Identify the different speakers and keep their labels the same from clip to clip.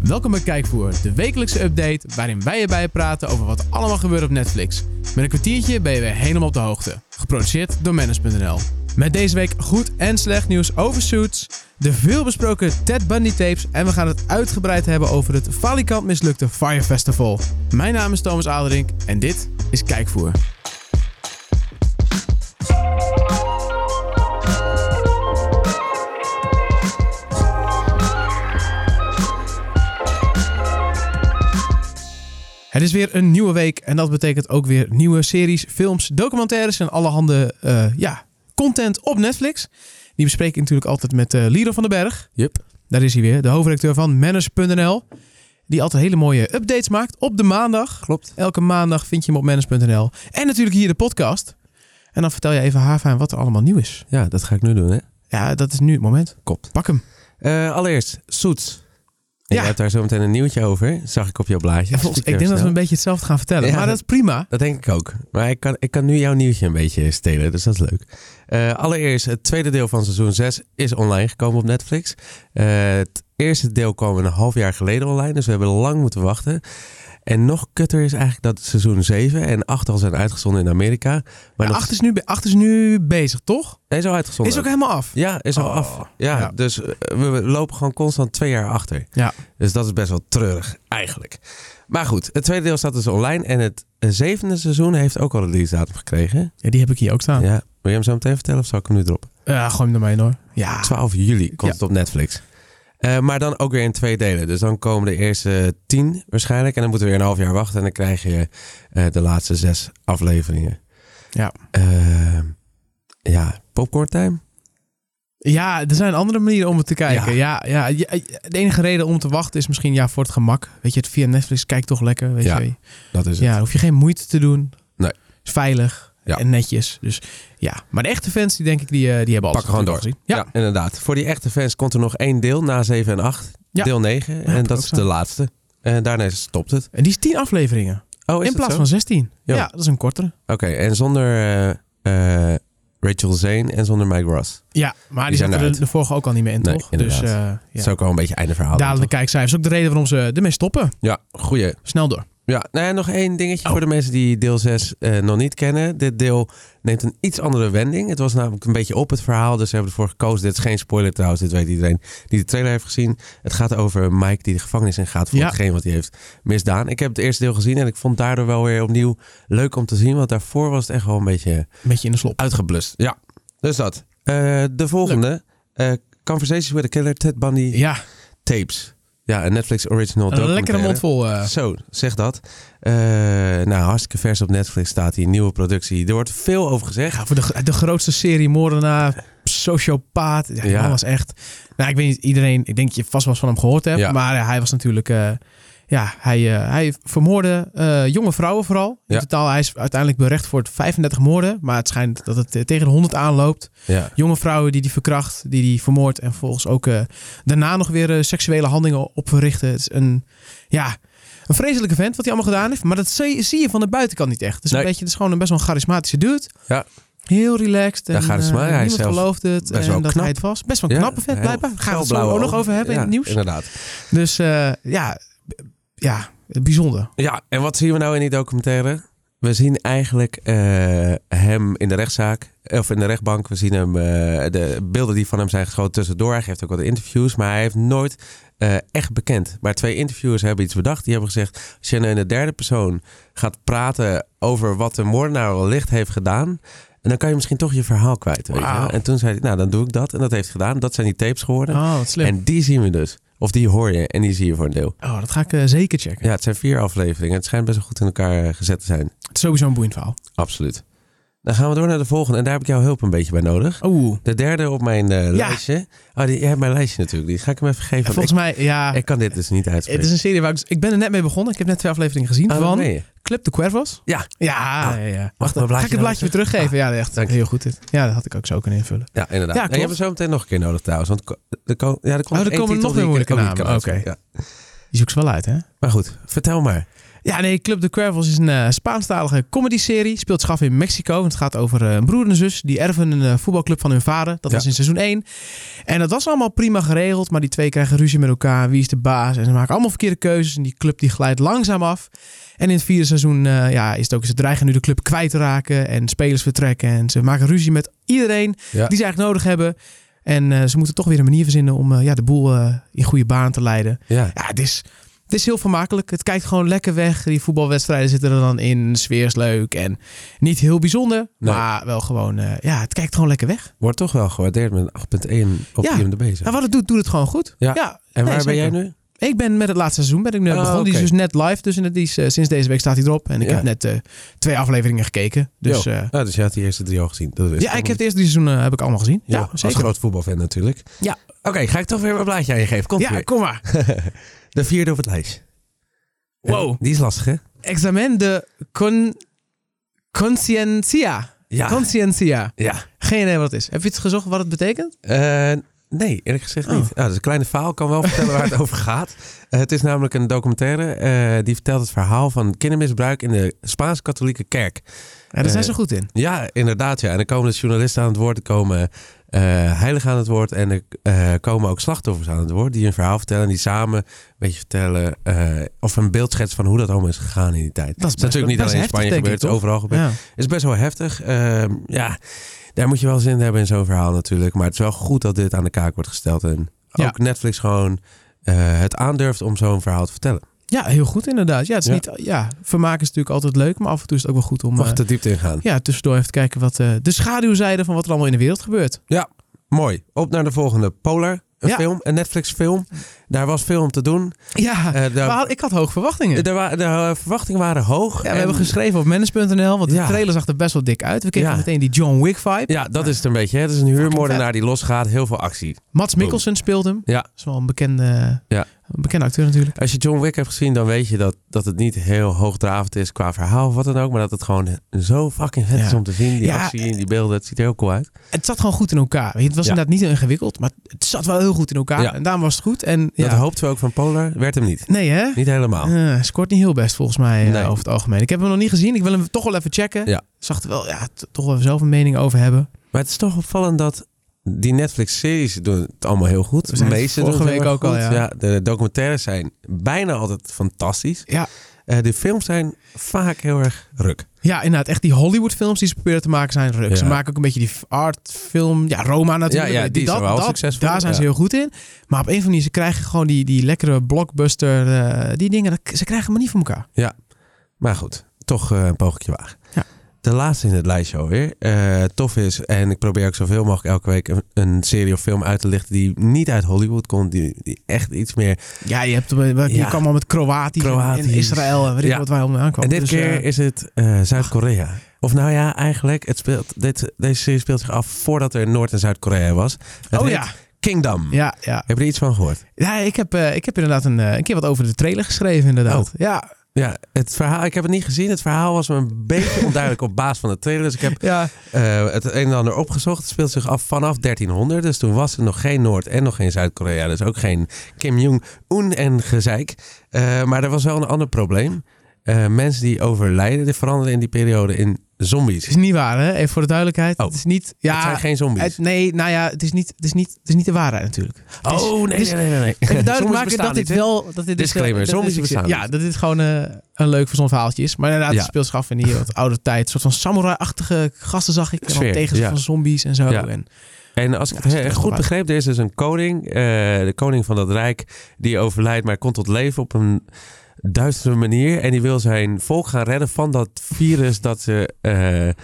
Speaker 1: Welkom bij Kijkvoer, de wekelijkse update waarin wij erbij praten over wat allemaal gebeurt op Netflix. Met een kwartiertje ben je weer helemaal op de hoogte. Geproduceerd door Manage.nl. Met deze week goed en slecht nieuws over Suits, de veelbesproken Ted Bundy tapes en we gaan het uitgebreid hebben over het falikant mislukte Fire Festival. Mijn naam is Thomas Aderink en dit is Kijkvoer. Het is weer een nieuwe week en dat betekent ook weer nieuwe series, films, documentaires en allerhande eh, ja, content op Netflix. Die bespreek ik natuurlijk altijd met eh Lido van den Berg.
Speaker 2: Yep.
Speaker 1: Daar is hij weer, de hoofdredacteur van Manners.nl. Die altijd hele mooie updates maakt op de maandag.
Speaker 2: Klopt.
Speaker 1: Elke maandag vind je hem op Manners.nl. En natuurlijk hier de podcast. En dan vertel je even Havaan wat er allemaal nieuw is.
Speaker 2: Ja, dat ga ik nu doen, hè?
Speaker 1: Ja, dat is nu het moment.
Speaker 2: Klopt.
Speaker 1: Pak hem.
Speaker 2: Eh, allereerst, Soets. Ja.
Speaker 1: Ja.
Speaker 2: Je hebt daar zo meteen een nieuwtje over, zag ik op jouw blaadje.
Speaker 1: Ja, volgens, ik denk dat we een beetje hetzelfde gaan vertellen.
Speaker 2: Ja,
Speaker 1: maar dat
Speaker 2: dat-
Speaker 1: is prima.
Speaker 2: Dat denk ik ook. Maar ik kan, ik kan nu jouw nieuwtje een beetje stelen, dus dat is leuk. Eh, allereerst, het tweede deel van seizoen 6 is online gekomen op Netflix. Eh, het eerste deel kwam een half jaar geleden online, dus we hebben lang moeten wachten. En nog kutter is eigenlijk dat seizoen 7 en 8 al zijn uitgezonden in Amerika. Maar nog
Speaker 1: Acht is, nu, be- acht is nu bezig, toch?
Speaker 2: Nee, is al uitgezonden.
Speaker 1: Is ook helemaal af.
Speaker 2: Ja, is al
Speaker 1: Oh,
Speaker 2: af. Ja,
Speaker 1: ja.
Speaker 2: dus eh, we we lopen gewoon constant twee jaar achter.
Speaker 1: Ja.
Speaker 2: Dus dat is best wel treurig, eigenlijk. Maar goed, het tweede deel staat dus online. En het eh, zevende seizoen heeft ook al een release datum gekregen.
Speaker 1: Ja, die heb ik hier ook staan.
Speaker 2: Ja. Wil je hem zo meteen vertellen of zal ik hem nu droppen?
Speaker 1: Ja, gooi hem ermee hoor. Ja.
Speaker 2: 12 juli komt
Speaker 1: Ah. Ja.
Speaker 2: het op Netflix. Eh, maar dan ook weer in twee delen. Dus dan komen de eerste tien waarschijnlijk. En dan moeten we weer een half jaar wachten. En dan krijg je eh, de laatste zes afleveringen.
Speaker 1: Ja.
Speaker 2: Eh, ja, popcorn time.
Speaker 1: Ja, er zijn andere manieren om het te kijken. Ja. Ja, ja, de enige reden om te wachten is misschien ja, voor het gemak. Weet je, het via Netflix kijk toch lekker. Weet
Speaker 2: Ja,
Speaker 1: je.
Speaker 2: Dat is het.
Speaker 1: ja hoef je geen moeite te doen.
Speaker 2: Nee.
Speaker 1: Is veilig
Speaker 2: Ja.
Speaker 1: en netjes. Dus ja, maar de echte fans, die denk ik, die, eh, die hebben alles
Speaker 2: Pakken gewoon
Speaker 1: natuurlijk al
Speaker 2: Ja.
Speaker 1: gezien. Ja.
Speaker 2: inderdaad. Voor die echte fans komt er nog één deel na 7 en 8.
Speaker 1: Ja.
Speaker 2: Deel 9. en
Speaker 1: heb ik
Speaker 2: dat
Speaker 1: ook
Speaker 2: is
Speaker 1: zo.
Speaker 2: de laatste. En daarna stopt het.
Speaker 1: En die is 10 afleveringen.
Speaker 2: Oh, is
Speaker 1: in
Speaker 2: dat
Speaker 1: plaats
Speaker 2: zo?
Speaker 1: van 16. Ja.
Speaker 2: Ja.
Speaker 1: dat is een kortere.
Speaker 2: Oké, en zonder eh, eh, Rachel Zane en zonder Mike Ross.
Speaker 1: Ja, maar die,
Speaker 2: Die zijn
Speaker 1: zaten er
Speaker 2: eruit.
Speaker 1: de vorige ook al niet meer in,
Speaker 2: Nee,
Speaker 1: toch?
Speaker 2: inderdaad.
Speaker 1: Dus eh
Speaker 2: Dat
Speaker 1: ja.
Speaker 2: is ook wel een beetje einde verhaal. dan,
Speaker 1: dalende kijkcijfers. Ook de reden waarom ze ermee stoppen.
Speaker 2: toch? Ja, goeie.
Speaker 1: Snel door.
Speaker 2: Ja, nou ja, nog één dingetje
Speaker 1: Oh.
Speaker 2: voor de mensen die deel 6 eh, nog niet kennen. Dit deel neemt een iets andere wending. Het was namelijk een beetje op het verhaal, dus ze hebben ervoor gekozen. Dit is geen spoiler trouwens, dit weet iedereen die de trailer heeft gezien. Het gaat over Mike die de gevangenis in gaat voor
Speaker 1: Ja.
Speaker 2: hetgeen wat hij heeft misdaan. Ik heb het eerste deel gezien en ik vond daardoor wel weer opnieuw leuk om te zien. Want daarvoor was het echt wel een beetje
Speaker 1: Een beetje in de slop.
Speaker 2: uitgeblust. Ja, dus dat. Eh, de volgende, eh, Conversations with a Killer, Ted Bundy
Speaker 1: Ja,
Speaker 2: tapes. Ja, een Netflix original
Speaker 1: een lekkere
Speaker 2: documentaire.
Speaker 1: mond vol. eh.
Speaker 2: Zo, zeg dat. Eh, nou, hartstikke vers op Netflix staat hier. Nieuwe productie. Er wordt veel over gezegd.
Speaker 1: Ja, voor de, de grootste serie moordenaar, sociopaat. Ja, die
Speaker 2: Ja.
Speaker 1: man was echt... Nou, ik weet niet, iedereen... Ik denk dat je vast wel eens van hem gehoord hebt.
Speaker 2: Ja.
Speaker 1: Maar eh, hij was natuurlijk... eh, ja, hij, eh, hij vermoorde eh, jonge vrouwen vooral. In
Speaker 2: Ja.
Speaker 1: totaal, hij is uiteindelijk berecht voor het 35 moorden. Maar het schijnt dat het eh, tegen de 100 aanloopt.
Speaker 2: Ja.
Speaker 1: Jonge vrouwen die die verkracht, die die vermoord. En volgens ook eh, daarna nog weer eh, seksuele handelingen opverrichten. Het is een... Ja, een vreselijke vent wat hij allemaal gedaan heeft. Maar dat zie, zie je van de buitenkant niet echt. Het is, een
Speaker 2: Nee.
Speaker 1: beetje, het is gewoon een best wel een charismatische dude.
Speaker 2: Ja.
Speaker 1: Heel relaxed. En,
Speaker 2: Ja, charisma.
Speaker 1: eh,
Speaker 2: Hij is
Speaker 1: niemand
Speaker 2: zelf
Speaker 1: gelooft het.
Speaker 2: best
Speaker 1: en
Speaker 2: wel
Speaker 1: dat
Speaker 2: knap.
Speaker 1: hij het was. Best wel een
Speaker 2: Ja,
Speaker 1: knappe vent
Speaker 2: heel
Speaker 1: blijkbaar. Gaan we het zo
Speaker 2: felblauwe
Speaker 1: ook nog
Speaker 2: ogen.
Speaker 1: over hebben in
Speaker 2: Ja,
Speaker 1: het nieuws.
Speaker 2: Inderdaad.
Speaker 1: Dus eh, ja, b- ja, bijzonder.
Speaker 2: Ja, en wat zien we nou in die documentaire? We zien eigenlijk eh, hem in de rechtszaak, of in de rechtbank. We zien hem, eh, de beelden die van hem zijn geschoten tussendoor. Hij geeft ook wat interviews, maar hij heeft nooit eh, echt bekend. Maar twee interviewers hebben iets bedacht. Die hebben gezegd, als je nou in de derde persoon gaat praten over wat de moordenaar wellicht heeft gedaan... En dan kan je misschien toch je verhaal kwijt. Weet je
Speaker 1: Wauw.
Speaker 2: wel. En toen zei hij, nou dan doe ik dat. En dat heeft hij gedaan. Dat zijn die tapes geworden.
Speaker 1: Oh, wat slim.
Speaker 2: en die zien we dus. Of die hoor je en die zie je voor een deel.
Speaker 1: oh, dat ga ik eh, zeker checken.
Speaker 2: Ja, het zijn vier afleveringen. Het schijnt best wel goed in elkaar eh, gezet te zijn.
Speaker 1: Het is sowieso een boeiend verhaal.
Speaker 2: Absoluut. Dan gaan we door naar de volgende. En daar heb ik jouw hulp een beetje bij nodig.
Speaker 1: Oeh,
Speaker 2: De derde op mijn eh, lijstje. Oh, die, jij hebt mijn lijstje natuurlijk. Die ga ik hem even geven. want
Speaker 1: volgens mij, ja...
Speaker 2: ik, ik kan dit dus niet uitspreken.
Speaker 1: het is een serie waar ik... dus- Ik ben er net mee begonnen. Ik heb net twee afleveringen gezien
Speaker 2: Oh, wat
Speaker 1: van
Speaker 2: meen je?
Speaker 1: Club de Cuervos.
Speaker 2: Ja.
Speaker 1: Ja, ja,
Speaker 2: Ah,
Speaker 1: ja.
Speaker 2: mijn
Speaker 1: dan ga ik
Speaker 2: blaadje
Speaker 1: het
Speaker 2: nou
Speaker 1: blaadje weer teruggeven. Ja, echt
Speaker 2: Dank je.
Speaker 1: heel goed dit. Ja, dat had ik ook zo kunnen invullen.
Speaker 2: Ja, inderdaad.
Speaker 1: Ja,
Speaker 2: en je
Speaker 1: klopt.
Speaker 2: hebt hem zo meteen nog een keer nodig trouwens. Want ko- er, ko- ja, er komt
Speaker 1: Oh, er
Speaker 2: één
Speaker 1: komen
Speaker 2: titel
Speaker 1: nog meer
Speaker 2: die ik-
Speaker 1: moeilijke
Speaker 2: oh, die ik
Speaker 1: namen.
Speaker 2: kan uitspreken, ja.
Speaker 1: Die zoek ze wel uit, hè?
Speaker 2: Maar goed, vertel maar.
Speaker 1: Ja, nee, Club de Cuervos is een eh, Spaanstalige comedy-serie. Speelt zich af in Mexico. Want het gaat over eh, een broer en een zus. Die erven een eh, voetbalclub van hun vader. Dat
Speaker 2: Ja.
Speaker 1: was in seizoen 1. En dat was allemaal prima geregeld. Maar die twee krijgen ruzie met elkaar. Wie is de baas? En ze maken allemaal verkeerde keuzes. En die club die glijdt langzaam af. En in het vierde seizoen eh, ja, is het ook, ze dreigen nu de club kwijt te raken. En spelers vertrekken. En ze maken ruzie met iedereen
Speaker 2: Ja.
Speaker 1: die ze eigenlijk nodig hebben. En eh, ze moeten toch weer een manier verzinnen om eh, ja, de boel eh, in goede baan te leiden.
Speaker 2: Ja.
Speaker 1: Ja, het is, het is heel vermakelijk. Het kijkt gewoon lekker weg. Die voetbalwedstrijden zitten er dan in. De sfeer is leuk en niet heel bijzonder.
Speaker 2: Nee.
Speaker 1: Maar wel gewoon, eh, ja, het kijkt gewoon lekker weg.
Speaker 2: Wordt toch wel gewaardeerd met een 8.1 op
Speaker 1: Ja.
Speaker 2: IMDb. zeg.
Speaker 1: En wat het doet, doet het gewoon goed.
Speaker 2: Ja. en waar
Speaker 1: nee,
Speaker 2: ben jij
Speaker 1: zeker.
Speaker 2: nu?
Speaker 1: Ik ben met het laatste seizoen ben ik nu
Speaker 2: Oh,
Speaker 1: begonnen. Die is
Speaker 2: oké.
Speaker 1: dus net live. Dus en die is, eh, sinds deze week staat hij erop. En ik
Speaker 2: Ja.
Speaker 1: heb net eh, twee afleveringen gekeken. Dus
Speaker 2: Jo.
Speaker 1: eh,
Speaker 2: Ah, dus je had die eerste drie al gezien. Dat wist
Speaker 1: ja,
Speaker 2: Dus ik
Speaker 1: ik heb de eerste drie seizoenen heb ik allemaal gezien.
Speaker 2: Ja,
Speaker 1: ja,
Speaker 2: als
Speaker 1: zeker.
Speaker 2: groot voetbalfan natuurlijk.
Speaker 1: Ja.
Speaker 2: Oké, ga ik toch weer een blaadje aan je geven. Komt
Speaker 1: Ja,
Speaker 2: weer.
Speaker 1: kom maar.
Speaker 2: De vierde op het lijstje.
Speaker 1: Wow.
Speaker 2: En Die is lastig, hè?
Speaker 1: Examen de con... conscientia.
Speaker 2: Ja.
Speaker 1: Conscientia.
Speaker 2: ja.
Speaker 1: Geen idee wat het is. Heb je het gezocht wat het betekent?
Speaker 2: Eh, nee, eerlijk gezegd
Speaker 1: Oh.
Speaker 2: niet. Ah, dus een kleine faal kan wel vertellen waar het over gaat. Eh, het is namelijk een documentaire eh, die vertelt het verhaal van kindermisbruik in de Spaanse katholieke kerk.
Speaker 1: Ja, daar zijn
Speaker 2: Eh,
Speaker 1: ze goed in.
Speaker 2: Ja, inderdaad. Ja. En er komen dus journalisten aan het woord, er komen eh heiligen aan het woord en er eh, komen ook slachtoffers aan het woord die een verhaal vertellen en die samen een beetje vertellen eh, of een beeld schetsen van hoe dat allemaal is gegaan in die tijd.
Speaker 1: Dat is best-
Speaker 2: natuurlijk niet
Speaker 1: best
Speaker 2: alleen in
Speaker 1: heftig,
Speaker 2: Spanje
Speaker 1: denk
Speaker 2: gebeurd,
Speaker 1: ik,
Speaker 2: het
Speaker 1: toch?
Speaker 2: is overal gebeurd.
Speaker 1: Ja.
Speaker 2: Het is best wel heftig. Ehm, ja, daar moet je wel zin in hebben in zo'n verhaal natuurlijk. Maar het is wel goed dat dit aan de kaak wordt gesteld. En
Speaker 1: Ja.
Speaker 2: ook Netflix gewoon eh, het aandurft om zo'n verhaal te vertellen.
Speaker 1: ja, heel goed inderdaad. Ja, het is
Speaker 2: Ja.
Speaker 1: Niet, ja, vermaak is natuurlijk altijd leuk, maar af en toe is het ook wel goed om
Speaker 2: Mag
Speaker 1: eh,
Speaker 2: de diepte ingaan.
Speaker 1: ja, tussendoor even te kijken wat eh, de schaduwzijde van wat er allemaal in de wereld gebeurt.
Speaker 2: Mooi. Op naar de volgende. Polar. Een
Speaker 1: Ja.
Speaker 2: film. Een Netflix film. Daar was veel om te doen.
Speaker 1: Ja,
Speaker 2: Eh, daar-
Speaker 1: maar had- ik had hoge verwachtingen.
Speaker 2: de, wa- de eh, verwachtingen waren hoog.
Speaker 1: ja, we
Speaker 2: En-
Speaker 1: hebben geschreven op manage.nl, want de
Speaker 2: Ja.
Speaker 1: trailer zag er best wel dik uit. We kregen
Speaker 2: Ja.
Speaker 1: meteen die John Wick vibe.
Speaker 2: Ja, dat is het een beetje. hè. Het is een huurmoordenaar
Speaker 1: Fucking
Speaker 2: die losgaat. Heel veel actie.
Speaker 1: Mats Mikkelsen speelt hem.
Speaker 2: Ja.
Speaker 1: Dat is wel een bekende,
Speaker 2: Ja.
Speaker 1: een bekende acteur natuurlijk.
Speaker 2: Als je John Wick hebt gezien, dan weet je dat, dat het niet heel hoogdravend is qua verhaal of wat dan ook. Maar dat het gewoon zo fucking vet
Speaker 1: Ja.
Speaker 2: is om te zien. Die
Speaker 1: Ja. eh,
Speaker 2: actie en die beelden, het ziet er heel cool uit.
Speaker 1: Het zat gewoon goed in elkaar. Weet je, Het was
Speaker 2: Ja.
Speaker 1: inderdaad niet ingewikkeld, maar het zat wel heel goed in elkaar.
Speaker 2: Ja.
Speaker 1: En daarom was het goed. En, ja.
Speaker 2: Dat hoopten we ook van Polar. Werd hem niet.
Speaker 1: nee hè?
Speaker 2: Niet helemaal.
Speaker 1: Eh, scoort niet heel best volgens mij eh,
Speaker 2: Oh. Nee.
Speaker 1: over het algemeen. Ik heb hem nog niet gezien. Ik wil hem toch wel even checken.
Speaker 2: Ja.
Speaker 1: Zag er wel, ja, t- toch wel zelf een mening over hebben.
Speaker 2: Maar het is toch opvallend dat die Netflix-series doen het allemaal heel goed.
Speaker 1: We zijn het vorige
Speaker 2: doen het
Speaker 1: week
Speaker 2: heel erg
Speaker 1: ook al,
Speaker 2: goed.
Speaker 1: ja.
Speaker 2: De documentaires zijn bijna altijd fantastisch.
Speaker 1: Ja.
Speaker 2: Eh, de films zijn vaak heel erg ruk.
Speaker 1: Ja, inderdaad. Echt die Hollywood-films die ze proberen te maken zijn ruk. Ze
Speaker 2: Ja.
Speaker 1: maken ook een beetje die artfilm. Ja, Roma natuurlijk.
Speaker 2: Ja, ja, die
Speaker 1: dat,
Speaker 2: zijn wel
Speaker 1: dat,
Speaker 2: succesvol,
Speaker 1: Daar zijn ze
Speaker 2: ja.
Speaker 1: heel goed in. Maar op een of andere manier, ze krijgen gewoon die, die lekkere blockbuster, eh, die dingen. dat- ze krijgen maar niet voor elkaar.
Speaker 2: Maar goed, toch eh, een pogingje wagen.
Speaker 1: Ja.
Speaker 2: De laatste in het lijstje alweer. Eh, tof is, en ik probeer ook zoveel mogelijk elke week een, een serie of film uit te lichten die niet uit Hollywood komt. Die, die echt iets meer.
Speaker 1: Ja, je, hebt, eh, je
Speaker 2: Ja.
Speaker 1: kwam allemaal met Kroatië en
Speaker 2: Kroatisch.
Speaker 1: Israël en weet ik
Speaker 2: Ja.
Speaker 1: wat wij allemaal aankwam.
Speaker 2: en dit
Speaker 1: Dus,
Speaker 2: keer
Speaker 1: eh,
Speaker 2: is het eh, Zuid-Korea. Of nou ja, eigenlijk, het speelt, dit, deze serie speelt zich af voordat er Noord- en Zuid-Korea was. Het
Speaker 1: oh
Speaker 2: heet
Speaker 1: ja.
Speaker 2: Kingdom.
Speaker 1: Ja, ja.
Speaker 2: Heb je er iets van gehoord?
Speaker 1: ja ik, heb, eh, ik heb inderdaad een, eh, een keer wat over de trailer geschreven inderdaad.
Speaker 2: Oh.
Speaker 1: Ja,
Speaker 2: Ja, het verhaal, ik heb het niet gezien. Het verhaal was me een beetje onduidelijk op basis van de trailer. Dus ik heb
Speaker 1: ja.
Speaker 2: Eh, het een en ander opgezocht. Het speelt zich af vanaf 1300. Dus toen was er nog geen Noord- en nog geen Zuid-Korea. Dus ook geen Kim Jong-un en gezeik. Eh, maar er was wel een ander probleem. Eh, mensen die overlijden, die veranderden in die periode in zombies.
Speaker 1: Het is niet waar, hè? Even voor de duidelijkheid.
Speaker 2: Oh.
Speaker 1: Het is niet. Ja,
Speaker 2: het zijn geen zombies.
Speaker 1: het- nee, nou ja, het is niet, het is niet, het is niet de waarheid natuurlijk. Het is-
Speaker 2: oh, nee,
Speaker 1: het is-
Speaker 2: nee, nee. nee, nee.
Speaker 1: dus- Even
Speaker 2: Zombies
Speaker 1: duidelijk maken
Speaker 2: bestaan
Speaker 1: dat dit
Speaker 2: niet, hè?
Speaker 1: wel. Dat dit dus, eh,
Speaker 2: Disclaimer,
Speaker 1: dat dit
Speaker 2: zombies
Speaker 1: is-
Speaker 2: bestaan
Speaker 1: Ja,
Speaker 2: niet.
Speaker 1: dat dit gewoon eh, een leuk verzonnen verhaaltje is. Maar inderdaad,
Speaker 2: Ja.
Speaker 1: het speelt zich af in die wat oude tijd. Een soort van samurai-achtige gasten zag ik. En dan
Speaker 2: Sfeer,
Speaker 1: tegen
Speaker 2: ja.
Speaker 1: van zombies en zo.
Speaker 2: Ja.
Speaker 1: En,
Speaker 2: En als ik
Speaker 1: Ja,
Speaker 2: het
Speaker 1: dat is
Speaker 2: he-
Speaker 1: echt
Speaker 2: goed
Speaker 1: waar.
Speaker 2: begreep, er is dus een koning, eh, de koning van dat rijk, die overlijdt, maar komt tot leven op een duistere manier. En die wil zijn volk gaan redden van dat virus dat, ze, eh, eh,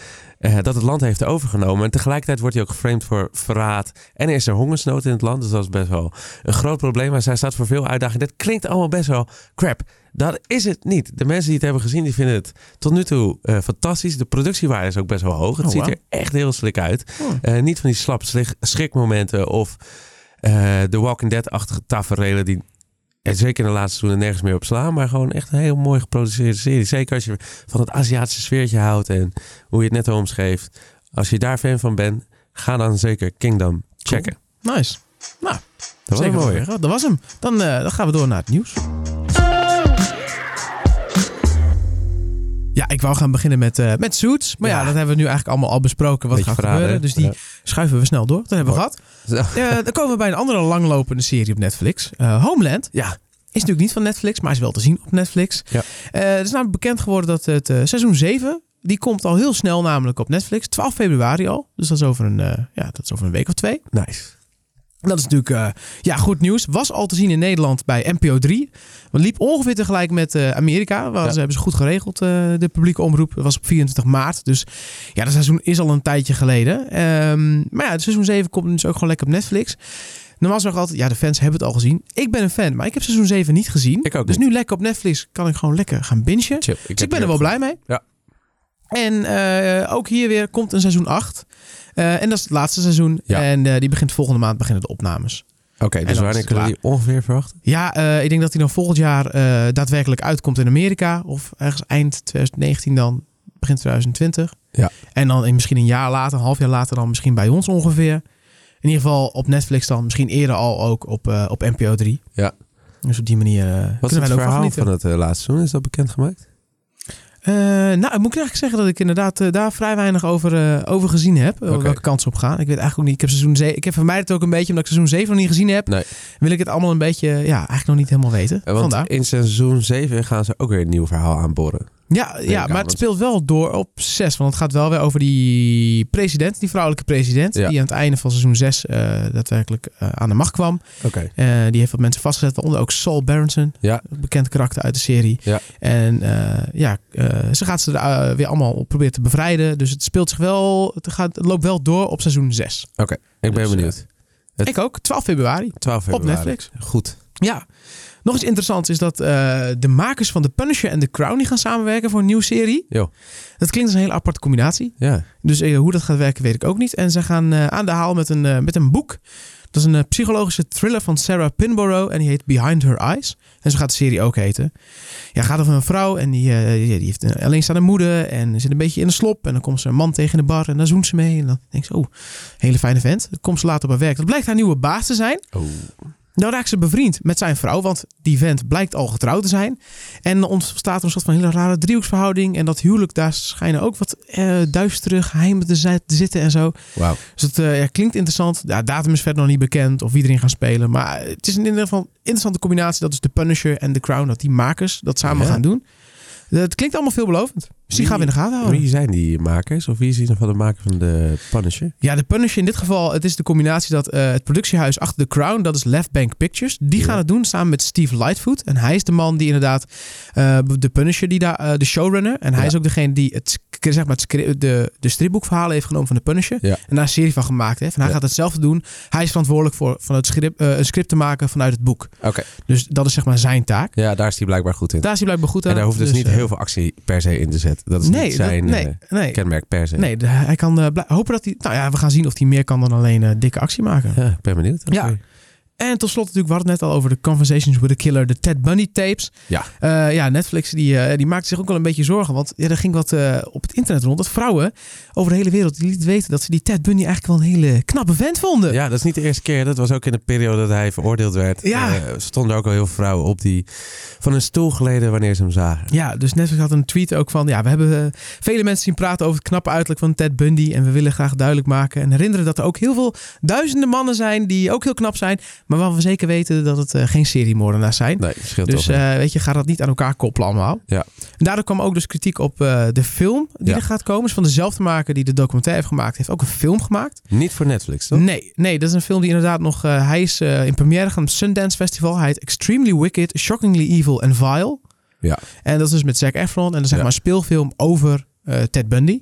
Speaker 2: dat het land heeft overgenomen. En tegelijkertijd wordt hij ook geframed voor verraad. En er is er hongersnood in het land, dus dat is best wel een groot probleem. Maar zij staat voor veel uitdagingen. Dit klinkt allemaal best wel crap. Dat is het niet. De mensen die het hebben gezien, die vinden het tot nu toe eh, fantastisch. De productiewaarde is ook best wel hoog. Het
Speaker 1: Oh,
Speaker 2: ziet
Speaker 1: wauw.
Speaker 2: er echt heel slik uit.
Speaker 1: oh,
Speaker 2: Eh, niet van die slap slik- schrikmomenten of eh The Walking Dead-achtige taferelen die er zeker in de laatste seizoenen nergens meer op slaan. Maar gewoon echt een heel mooi geproduceerde serie. Zeker als je van het Aziatische sfeertje houdt en hoe je het net al omschreef. Als je daar fan van bent, ga dan zeker Kingdom checken.
Speaker 1: nice.
Speaker 2: Dat was
Speaker 1: Zeker
Speaker 2: mooi.
Speaker 1: Oh, wel. Dat was hem. Dan, eh, dan gaan we door naar het nieuws. Ja, ik wou gaan beginnen met, eh, met Suits. Maar ja.
Speaker 2: Ja.
Speaker 1: dat hebben we nu eigenlijk allemaal al besproken wat
Speaker 2: Beetje
Speaker 1: gaat
Speaker 2: verraden, Eh,
Speaker 1: gebeuren.
Speaker 2: hè?
Speaker 1: Dus die schuiven we snel door. Dat hebben we
Speaker 2: Mooi.
Speaker 1: gehad. Eh, dan komen we bij een andere langlopende serie op Netflix. Eh, Homeland.
Speaker 2: Ja. ja.
Speaker 1: Is natuurlijk niet van Netflix, maar is wel te zien op Netflix.
Speaker 2: Ja.
Speaker 1: Eh, het is namelijk bekend geworden dat het eh, seizoen 7... die komt al heel snel namelijk op Netflix. 12 februari al. Dus dat is over een, eh, ja, dat is over een week of twee.
Speaker 2: Nice.
Speaker 1: Dat is natuurlijk eh, ja, goed nieuws. Was al te zien in Nederland bij NPO 3. Want liep ongeveer tegelijk met eh, Amerika. Waar
Speaker 2: Ja.
Speaker 1: Ze hebben ze goed geregeld, eh, de publieke omroep. Dat was op 24 maart. Dus ja, dat seizoen is al een tijdje geleden. Ehm, maar ja, het seizoen 7 komt dus ook gewoon lekker op Netflix. Normaal zeg ik altijd, ja, de fans hebben het al gezien. Ik ben een fan, maar ik heb seizoen 7 niet gezien.
Speaker 2: Ik ook
Speaker 1: dus
Speaker 2: niet.
Speaker 1: nu lekker op Netflix kan ik gewoon lekker gaan bingen.
Speaker 2: Chill.
Speaker 1: Dus ik ben er wel blij mee.
Speaker 2: Ja.
Speaker 1: En eh, ook hier weer komt een seizoen 8. Eh, en dat is het laatste seizoen.
Speaker 2: Ja.
Speaker 1: En eh, die begint volgende maand beginnen de opnames.
Speaker 2: Oké,
Speaker 1: En
Speaker 2: dus
Speaker 1: dan is het
Speaker 2: wanneer kunnen we die ongeveer verwachten?
Speaker 1: Ja, eh, ik denk dat die dan volgend jaar eh, daadwerkelijk uitkomt in Amerika. Of ergens eind 2019 dan, begin 2020.
Speaker 2: Ja.
Speaker 1: En dan in, misschien een jaar later, een half jaar later dan misschien bij ons ongeveer. In ieder geval op Netflix dan. Misschien eerder al ook op, eh, op NPO 3.
Speaker 2: Ja.
Speaker 1: Dus op die manier eh
Speaker 2: Wat
Speaker 1: kunnen
Speaker 2: is
Speaker 1: wij
Speaker 2: het
Speaker 1: er ook van
Speaker 2: verhaal
Speaker 1: genieten.
Speaker 2: van het eh, laatste seizoen? Is dat bekendgemaakt?
Speaker 1: Eh, nou, ik moet eigenlijk zeggen dat ik inderdaad eh, daar vrij weinig over, eh, over gezien heb. eh,
Speaker 2: Oké.
Speaker 1: Welke kansen op gaan. Ik weet eigenlijk ook niet. Ik heb seizoen 7. Ik heb vermijd het ook een beetje omdat ik seizoen 7 nog niet gezien heb.
Speaker 2: Nee.
Speaker 1: Wil ik het allemaal een beetje, ja, eigenlijk nog niet helemaal weten.
Speaker 2: Eh, Want
Speaker 1: Vandaar.
Speaker 2: in seizoen 7 gaan ze ook weer een nieuw verhaal aanboren.
Speaker 1: Ja,
Speaker 2: ik
Speaker 1: ja maar
Speaker 2: aan,
Speaker 1: het
Speaker 2: want-
Speaker 1: speelt wel door op 6. Want het gaat wel weer over die president, die vrouwelijke president.
Speaker 2: Ja.
Speaker 1: Die aan het einde van seizoen 6 eh, daadwerkelijk eh, aan de macht kwam.
Speaker 2: Oké.
Speaker 1: Eh, die heeft wat mensen vastgezet, waaronder ook Saul Berenson.
Speaker 2: Ja.
Speaker 1: een Bekend karakter uit de serie.
Speaker 2: Ja.
Speaker 1: En eh, ja, eh, ze gaat ze er, eh, weer allemaal op proberen te bevrijden. Dus het speelt zich wel, het, gaat, het loopt wel door op seizoen 6.
Speaker 2: Ik ben
Speaker 1: Dus,
Speaker 2: benieuwd. Het-
Speaker 1: Ik ook, 12 februari,
Speaker 2: 12
Speaker 1: op
Speaker 2: februari.
Speaker 1: Netflix.
Speaker 2: Goed.
Speaker 1: Ja. Nog iets interessants is dat eh, de makers van The Punisher en The Crown die gaan samenwerken voor een nieuwe serie.
Speaker 2: Jo.
Speaker 1: Dat klinkt als een hele aparte combinatie.
Speaker 2: Ja.
Speaker 1: Dus eh, hoe dat gaat werken weet ik ook niet. En ze gaan eh, aan de haal met een, eh, met een boek. Dat is een eh, psychologische thriller van Sarah Pinborough. En die heet Behind Her Eyes. En zo gaat de serie ook heten. Ja, het gaat over een vrouw. En die, eh, die, die heeft een alleenstaande moeder. En zit een beetje in een slop. En dan komt ze een man tegen in de bar. En dan zoent ze mee. En dan denkt ze, oh, hele fijne vent. Dan komt ze later op haar werk. Dat blijkt haar nieuwe baas te zijn.
Speaker 2: Oh.
Speaker 1: Dan raakt ze bevriend met zijn vrouw, want die vent blijkt al getrouwd te zijn. En er ontstaat er een soort van hele rare driehoeksverhouding. En dat huwelijk, daar schijnen ook wat eh duistere geheimen te, zi- te zitten en zo.
Speaker 2: Wauw.
Speaker 1: Dus het eh, ja, klinkt interessant. Ja, datum is verder nog niet bekend of wie erin gaan spelen. Maar eh, het is in ieder geval een interessante combinatie. Dat is de Punisher en The Crown, dat die makers dat samen
Speaker 2: Ja.
Speaker 1: gaan doen. Eh, Het klinkt allemaal veelbelovend. Dus die
Speaker 2: Wie-
Speaker 1: gaan we in de gaten houden.
Speaker 2: Oh. Wie zijn die makers? Of wie is in ieder geval de maker van de Punisher?
Speaker 1: Ja, de Punisher in dit geval, het is de combinatie dat eh, het productiehuis achter The Crown, dat is Left Bank Pictures, die
Speaker 2: Ja.
Speaker 1: gaan het doen samen met Steve Lightfoot. En hij is de man die inderdaad, eh, de Punisher, die daar, eh, de showrunner. En hij
Speaker 2: Ja.
Speaker 1: is ook degene die het, sc- zeg maar het script- de, de stripboekverhalen heeft genomen van de Punisher.
Speaker 2: Ja.
Speaker 1: En daar een serie van gemaakt heeft. En hij
Speaker 2: Ja.
Speaker 1: gaat hetzelfde doen. Hij is verantwoordelijk voor van het script, eh, een script te maken vanuit het boek.
Speaker 2: Oké.
Speaker 1: Dus dat is zeg maar zijn taak.
Speaker 2: Ja, daar is hij blijkbaar goed in.
Speaker 1: Daar is hij blijkbaar goed aan.
Speaker 2: en daar hoeft dus, niet
Speaker 1: eh,
Speaker 2: heel veel actie per se in te zetten. Dat is
Speaker 1: nee,
Speaker 2: niet
Speaker 1: dat-
Speaker 2: zijn
Speaker 1: nee,
Speaker 2: eh,
Speaker 1: nee.
Speaker 2: kenmerk per se.
Speaker 1: Nee, de- hij kan eh, blij- hopen dat hij... Nou ja, we gaan zien of hij meer kan dan alleen eh, dikke actie maken.
Speaker 2: Ja, ik ben benieuwd.
Speaker 1: Ja.
Speaker 2: Oké.
Speaker 1: En tot slot natuurlijk, we hadden het net al over de Conversations with a Killer, de Ted Bundy tapes.
Speaker 2: Ja.
Speaker 1: Eh, ja, Netflix die, eh, die maakte zich ook wel een beetje zorgen, want ja, er ging wat eh, op het internet rond dat vrouwen over de hele wereld die lieten weten dat ze die Ted Bundy eigenlijk wel een hele knappe vent vonden.
Speaker 2: Ja, dat is niet de eerste keer. Dat was ook in de periode dat hij veroordeeld werd.
Speaker 1: Ja.
Speaker 2: Eh, stonden ook al heel veel vrouwen op die van hun stoel geleden wanneer ze hem zagen.
Speaker 1: Ja, dus Netflix had een tweet ook van... Ja, we hebben eh, vele mensen zien praten over het knappe uiterlijk van Ted Bundy... en we willen graag duidelijk maken en herinneren dat er ook heel veel duizenden mannen zijn... die ook heel knap zijn, maar waarvan we zeker weten dat het eh, geen seriemoordenaars zijn.
Speaker 2: Nee, scheelt
Speaker 1: Dus
Speaker 2: toch.
Speaker 1: eh, weet je, ga dat niet aan elkaar koppelen allemaal.
Speaker 2: Ja.
Speaker 1: En daardoor kwam ook dus kritiek op eh, de film die
Speaker 2: Ja.
Speaker 1: er gaat komen. Is van dezelfde maker die de documentaire heeft gemaakt, heeft ook een film gemaakt.
Speaker 2: niet voor Netflix, toch?
Speaker 1: Nee, nee, dat is een film die inderdaad nog... eh, hij is eh, in première gaan op het Sundance Festival. Hij heet Extremely Wicked, Shockingly Evil and Vile.
Speaker 2: Ja.
Speaker 1: En dat is dus met Zac Efron. En dat is zeg
Speaker 2: Ja.
Speaker 1: maar een speelfilm over eh, Ted Bundy.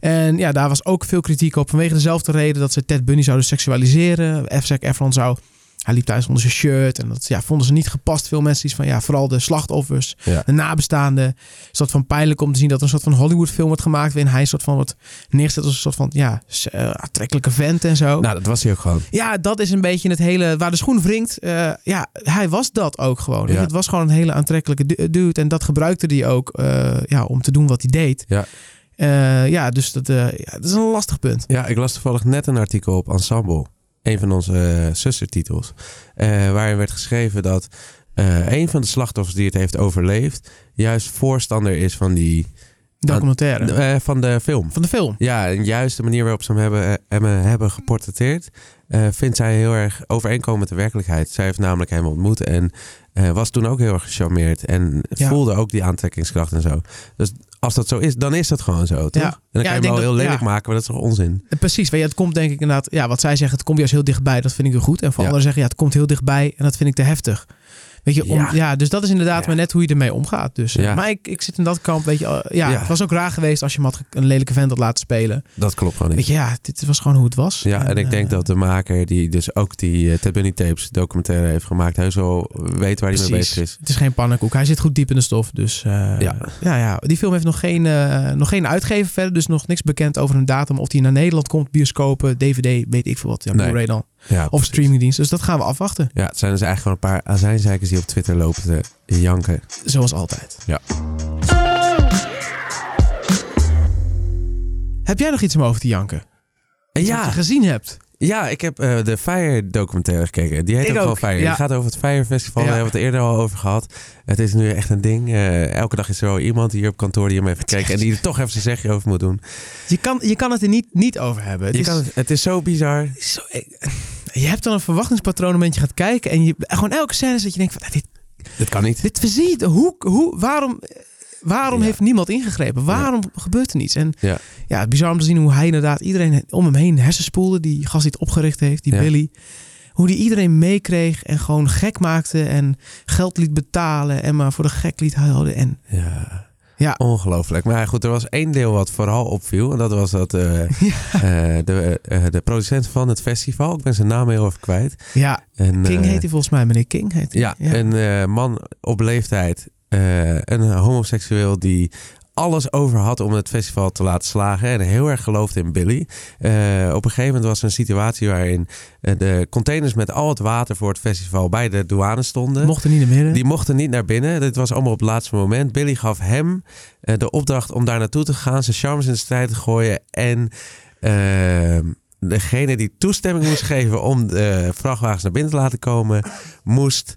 Speaker 1: En ja, daar was ook veel kritiek op. Vanwege dezelfde reden dat ze Ted Bundy zouden seksualiseren. F. Zac Efron zou... Hij liep thuis onder zijn shirt. En dat ja, vonden ze niet gepast. Veel mensen die van ja, vooral de slachtoffers,
Speaker 2: Ja.
Speaker 1: de nabestaanden. Een soort van pijnlijk om te zien dat er een soort van Hollywood film wordt gemaakt. Waarin hij een soort van wordt neergezet als een soort van ja, s- eh, aantrekkelijke vent en zo.
Speaker 2: Nou, dat was hij ook gewoon.
Speaker 1: Ja, dat is een beetje het hele waar de schoen wringt. Eh, ja, hij was dat ook gewoon.
Speaker 2: Ja.
Speaker 1: Het was gewoon een hele aantrekkelijke du- dude. En dat gebruikte hij ook eh, ja, om te doen wat hij deed.
Speaker 2: Ja.
Speaker 1: Eh, ja, dus dat, eh, ja, dat is een lastig punt.
Speaker 2: Ja, ik las toevallig net een artikel op Ensemble. Een van onze eh, zustertitels. eh, waarin werd geschreven dat eh, een van de slachtoffers die het heeft overleefd... juist voorstander is van die
Speaker 1: Documentaire.
Speaker 2: Eh, van de film.
Speaker 1: van de film.
Speaker 2: Ja, en juist de manier waarop ze hem hebben, eh, hem eh, hebben geportretteerd... eh, vindt zij heel erg overeenkomen met de werkelijkheid. Zij heeft namelijk hem ontmoet en eh, was toen ook heel erg gecharmeerd. En
Speaker 1: Ja.
Speaker 2: voelde ook die aantrekkingskracht en zo. Dus als dat zo is, dan is dat gewoon zo, toch?
Speaker 1: Ja.
Speaker 2: En
Speaker 1: Ja,
Speaker 2: dan kan je
Speaker 1: ik
Speaker 2: hem
Speaker 1: denk
Speaker 2: wel
Speaker 1: dat-
Speaker 2: heel lelijk
Speaker 1: ja.
Speaker 2: maken, maar dat is toch onzin?
Speaker 1: Eh, Precies, weet je, het komt denk ik inderdaad, ja, wat zij zegt, het komt juist heel dichtbij. Dat vind ik heel goed. En voor
Speaker 2: Ja.
Speaker 1: anderen zeggen, ja, het komt heel dichtbij en dat vind ik te heftig. Weet je, om, ja.
Speaker 2: Ja.
Speaker 1: dus dat is inderdaad
Speaker 2: Ja.
Speaker 1: maar net hoe je ermee omgaat. Dus, eh,
Speaker 2: Ja.
Speaker 1: Maar ik, ik zit in dat kamp, weet je, eh, ja,
Speaker 2: Ja.
Speaker 1: het was ook raar geweest als je hem had ge- een lelijke vent had laten spelen.
Speaker 2: Dat klopt gewoon niet.
Speaker 1: Weet je, ja, dit was gewoon hoe het was.
Speaker 2: Ja, en ik
Speaker 1: eh,
Speaker 2: denk dat de maker die dus ook die eh, Ted Bundy Tapes documentaire heeft gemaakt... heus wel weet waar hij
Speaker 1: Precies.
Speaker 2: mee bezig is.
Speaker 1: Het is geen pannenkoek. Hij zit goed diep in de stof. Dus eh, ja.
Speaker 2: Ja.
Speaker 1: Ja, die film heeft nog geen, eh, nog geen uitgever verder. Dus nog niks bekend over een datum. Of die naar Nederland komt, bioscopen, DVD, weet ik veel wat. Ja,
Speaker 2: Nee.
Speaker 1: Blu-ray dan.
Speaker 2: Ja,
Speaker 1: Of
Speaker 2: precies.
Speaker 1: streamingdienst. Dus dat gaan we afwachten.
Speaker 2: Ja, het zijn dus eigenlijk gewoon een paar azijnzeikers die op Twitter lopen te janken.
Speaker 1: Zoals altijd.
Speaker 2: Ja.
Speaker 1: Heb jij nog iets om over te janken? Iets wat je
Speaker 2: Ja,
Speaker 1: gezien hebt.
Speaker 2: ja ik heb eh, de Fire documentaire gekeken. Die heet
Speaker 1: Ik
Speaker 2: ook wel
Speaker 1: ook,
Speaker 2: Fire.
Speaker 1: ja.
Speaker 2: Die gaat over het Fire Festival.
Speaker 1: Ja.
Speaker 2: Daar hebben we het eerder al over gehad. Het is nu echt een ding. Eh, elke dag is er wel iemand hier op kantoor die hem heeft gekeken. En die er toch even zijn zegje over moet doen.
Speaker 1: Je kan, je kan het er niet, niet over hebben. Het
Speaker 2: Je
Speaker 1: is,
Speaker 2: kan, het- het is zo bizar.
Speaker 1: zo- je hebt dan een verwachtingspatroon moment je gaat kijken. En je, gewoon elke scène dat je denkt van ah, dit,
Speaker 2: Dat kan niet.
Speaker 1: dit verziet. Hoe, hoe, waarom waarom
Speaker 2: Ja.
Speaker 1: heeft niemand ingegrepen? Waarom gebeurt er niets? En
Speaker 2: Ja.
Speaker 1: ja, het bizar om te zien hoe hij inderdaad iedereen om hem heen hersenspoelde. Die gast die het opgericht heeft, die
Speaker 2: Ja.
Speaker 1: Billy. Hoe die iedereen meekreeg en gewoon gek maakte. En geld liet betalen en maar voor de gek liet houden. En
Speaker 2: Ja.
Speaker 1: Ja.
Speaker 2: Ongelooflijk. Maar goed, er was één deel wat vooral opviel. En dat was dat eh, eh, de, eh, de producent van het festival. Ik ben zijn naam heel even kwijt.
Speaker 1: ja,
Speaker 2: En,
Speaker 1: King
Speaker 2: eh,
Speaker 1: heet hij volgens mij. Meneer King heet hij.
Speaker 2: Ja, een eh, man op leeftijd, eh, een homoseksueel die alles over had om het festival te laten slagen en heel erg geloofde in Billy. Eh, op een gegeven moment was er een situatie waarin eh, de containers met al het water voor het festival bij de douane stonden.
Speaker 1: Mocht er niet naar binnen.
Speaker 2: eh, Die mochten niet naar binnen. Dit was allemaal op het laatste moment. Billy gaf hem eh, de opdracht om daar naartoe te gaan, zijn charmes in de strijd te gooien. En eh, degene die toestemming moest geven om de vrachtwagens naar binnen te laten komen, moest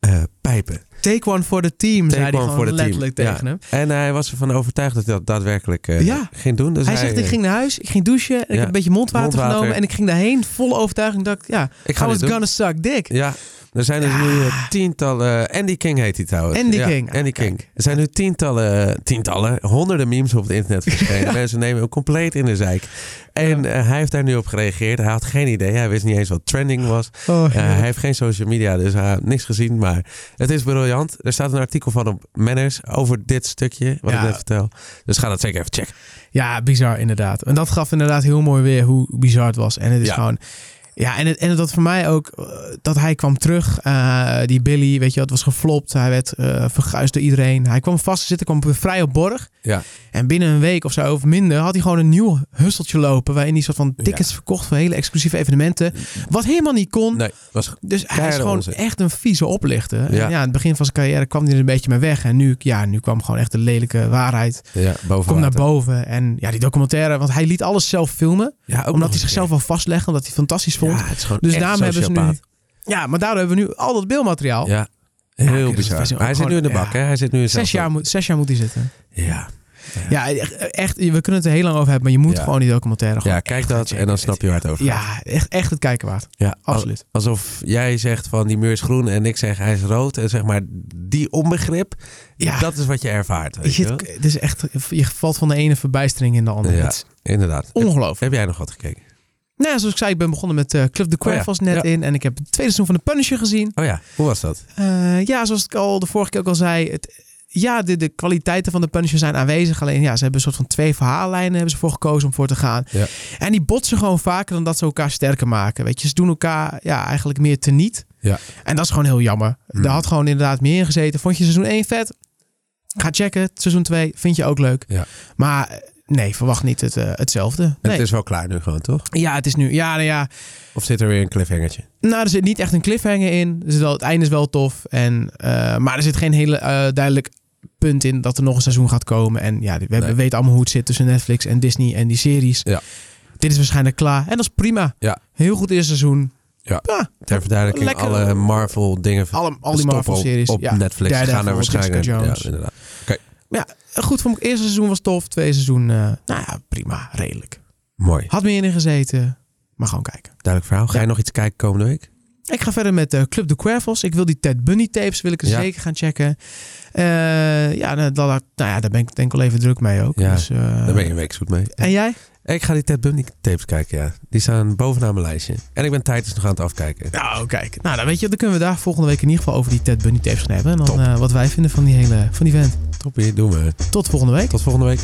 Speaker 2: eh, pijpen.
Speaker 1: Take one for the team,
Speaker 2: Take
Speaker 1: zei hij
Speaker 2: one
Speaker 1: gewoon
Speaker 2: for the team.
Speaker 1: letterlijk
Speaker 2: Ja.
Speaker 1: tegen hem.
Speaker 2: En hij was ervan overtuigd dat hij dat daadwerkelijk eh,
Speaker 1: Ja.
Speaker 2: ging doen. Dus
Speaker 1: hij zegt,
Speaker 2: eh,
Speaker 1: ik ging naar huis, ik ging douchen, en ik
Speaker 2: Ja.
Speaker 1: heb een beetje mondwater,
Speaker 2: Mondwater.
Speaker 1: genomen en ik ging daarheen vol overtuiging. Dacht, ja,
Speaker 2: ik
Speaker 1: I
Speaker 2: dit
Speaker 1: was
Speaker 2: doen.
Speaker 1: gonna suck dick.
Speaker 2: Ja, er zijn dus nu eh, tientallen... Andy King heet hij trouwens.
Speaker 1: Andy
Speaker 2: Ja,
Speaker 1: King.
Speaker 2: Andy
Speaker 1: Ah,
Speaker 2: King.
Speaker 1: kijk.
Speaker 2: Er zijn nu tientallen, eh, tientallen, honderden memes op het internet verschenen. Mensen nemen hem compleet in de zeik. En eh, hij heeft daar nu op gereageerd. Hij had geen idee. Hij wist niet eens wat trending was.
Speaker 1: Oh,
Speaker 2: Eh, hij heeft geen social media, dus hij had niks gezien. Maar het is briljant. Er staat een artikel van op Manners over dit stukje, wat
Speaker 1: Ja.
Speaker 2: ik net vertel. Dus ga dat zeker even checken.
Speaker 1: Ja, bizar inderdaad. En dat gaf inderdaad heel mooi weer hoe bizar het was. En het is
Speaker 2: Ja.
Speaker 1: gewoon... Ja, en, het, en dat voor mij ook, eh, dat hij kwam terug, eh, die Billy, weet je, dat was geflopt. Hij werd eh verguisd door iedereen. Hij kwam vast te zitten, kwam weer vrij op borg.
Speaker 2: Ja.
Speaker 1: En binnen een week of zo, of minder, had hij gewoon een nieuw husteltje lopen. Waarin hij soort van tickets verkocht voor hele exclusieve evenementen. Wat helemaal niet kon.
Speaker 2: Nee, was
Speaker 1: Dus hij is
Speaker 2: Keiharde
Speaker 1: gewoon
Speaker 2: onzin.
Speaker 1: echt een vieze oplichter. En Ja.
Speaker 2: Ja.
Speaker 1: aan het begin van zijn carrière kwam hij er een beetje mee weg. En nu, ja, nu kwam gewoon echt de lelijke waarheid.
Speaker 2: ja, boven
Speaker 1: Kom naar
Speaker 2: water.
Speaker 1: boven. En ja, die documentaire, want hij liet alles zelf filmen.
Speaker 2: Ja, ook nog
Speaker 1: omdat
Speaker 2: een
Speaker 1: hij zichzelf wel vastlegde, omdat hij het fantastisch
Speaker 2: keer.
Speaker 1: vond.
Speaker 2: Ja, het is gewoon
Speaker 1: dus
Speaker 2: echt
Speaker 1: daarom hebben ze nu...
Speaker 2: sociopaat.
Speaker 1: Ja, maar daardoor hebben we nu al dat beeldmateriaal.
Speaker 2: Ja,
Speaker 1: Oh. Ja,
Speaker 2: heel
Speaker 1: oké, dat
Speaker 2: bizar.
Speaker 1: is ook
Speaker 2: hij zit
Speaker 1: gewoon-
Speaker 2: nu in de bak,
Speaker 1: ja.
Speaker 2: hè? Hij zit nu in
Speaker 1: Zes
Speaker 2: zelfbak.
Speaker 1: jaar, moet, zes jaar moet hij zitten.
Speaker 2: Ja,
Speaker 1: Ja, e- echt, we kunnen het er heel lang over hebben, maar je moet
Speaker 2: Ja.
Speaker 1: gewoon die documentaire gewoon
Speaker 2: ja kijk
Speaker 1: echt
Speaker 2: dat
Speaker 1: gaan
Speaker 2: en dan
Speaker 1: checken.
Speaker 2: snap je waar het Oh, over gaat.
Speaker 1: Ja, echt, echt het kijken waard.
Speaker 2: Ja, al-
Speaker 1: Absoluut.
Speaker 2: Alsof jij zegt van die muur is groen en ik zeg hij is rood. En zeg maar die onbegrip,
Speaker 1: Ja.
Speaker 2: dat is wat je ervaart.
Speaker 1: Je,
Speaker 2: Weet je wel?
Speaker 1: zit, het is echt, je valt van de ene verbijstering in de andere.
Speaker 2: Ja.
Speaker 1: Het is
Speaker 2: Inderdaad. Heb,
Speaker 1: ongelooflijk.
Speaker 2: heb jij nog wat gekeken?
Speaker 1: Nou, ja, zoals ik zei, ik ben begonnen met eh Club de Quack
Speaker 2: Oh ja,
Speaker 1: was net
Speaker 2: ja.
Speaker 1: in. En ik heb het tweede seizoen van de Punisher gezien.
Speaker 2: Oh ja, hoe was dat?
Speaker 1: Eh, ja, zoals ik al de vorige keer ook al zei. Het, ja, de, de kwaliteiten van de Punisher zijn aanwezig. Alleen ja, ze hebben een soort van twee verhaallijnen hebben ze voor gekozen om voor te gaan.
Speaker 2: Ja.
Speaker 1: En die botsen gewoon vaker dan dat ze elkaar sterker maken. Weet je, ze doen elkaar ja, eigenlijk meer teniet.
Speaker 2: Ja.
Speaker 1: En dat is gewoon heel jammer.
Speaker 2: Hmm.
Speaker 1: Daar had gewoon inderdaad meer in gezeten. Vond je seizoen 1 vet? Ga checken. Seizoen 2 vind je ook leuk.
Speaker 2: Ja.
Speaker 1: Maar eh, nee, verwacht niet het, eh, hetzelfde. Nee.
Speaker 2: Het is wel klaar nu gewoon, toch?
Speaker 1: Ja, het is nu. Ja, nou ja.
Speaker 2: Of zit er weer een cliffhangertje?
Speaker 1: Nou, er zit niet echt een cliffhanger in. Er zit wel, het einde is wel tof. En, eh, maar er zit geen hele eh, duidelijk punt in dat er nog een seizoen gaat komen. En ja, we hebben-
Speaker 2: Nee.
Speaker 1: weten allemaal hoe het zit tussen Netflix en Disney en die series.
Speaker 2: Ja.
Speaker 1: Dit is waarschijnlijk klaar. En dat is prima.
Speaker 2: Ja.
Speaker 1: Heel goed eerste seizoen.
Speaker 2: Ja. Ter verduidelijking,
Speaker 1: Lekker.
Speaker 2: alle Marvel dingen
Speaker 1: Alle, al die
Speaker 2: stoppen
Speaker 1: Marvel-series.
Speaker 2: op, op
Speaker 1: Ja.
Speaker 2: Netflix
Speaker 1: Daredevil,
Speaker 2: gaan er
Speaker 1: Jessica
Speaker 2: waarschijnlijk...
Speaker 1: Jones.
Speaker 2: Ja, inderdaad.
Speaker 1: Maar ja, goed vond ik. Eerste seizoen was tof. Tweede seizoen, eh, nou ja, prima. Redelijk.
Speaker 2: Mooi.
Speaker 1: Had meer in gezeten. Maar gewoon kijken.
Speaker 2: Duidelijk verhaal. Ga je nog iets kijken komende week?
Speaker 1: Ik ga verder met eh, Club de Quervels. Ik wil die Ted Bunny tapes wil ik er
Speaker 2: Ja.
Speaker 1: zeker gaan checken. Eh, ja, nou, dat, nou ja, daar ben ik denk ik al even druk mee ook.
Speaker 2: Ja,
Speaker 1: dus, eh,
Speaker 2: Daar ben je een week zoet mee.
Speaker 1: En jij?
Speaker 2: Ik ga die Ted Bundy tapes kijken, ja. Die staan bovenaan mijn lijstje. En ik ben Titus nog aan het afkijken.
Speaker 1: Nou, kijk. Nou, dan weet je, dan kunnen we daar volgende week in ieder geval over die Ted Bunny tapes gaan hebben. En dan
Speaker 2: Top.
Speaker 1: eh, wat wij vinden van die hele van die vent.
Speaker 2: Toppie, doen we.
Speaker 1: Tot volgende week.
Speaker 2: Tot volgende week.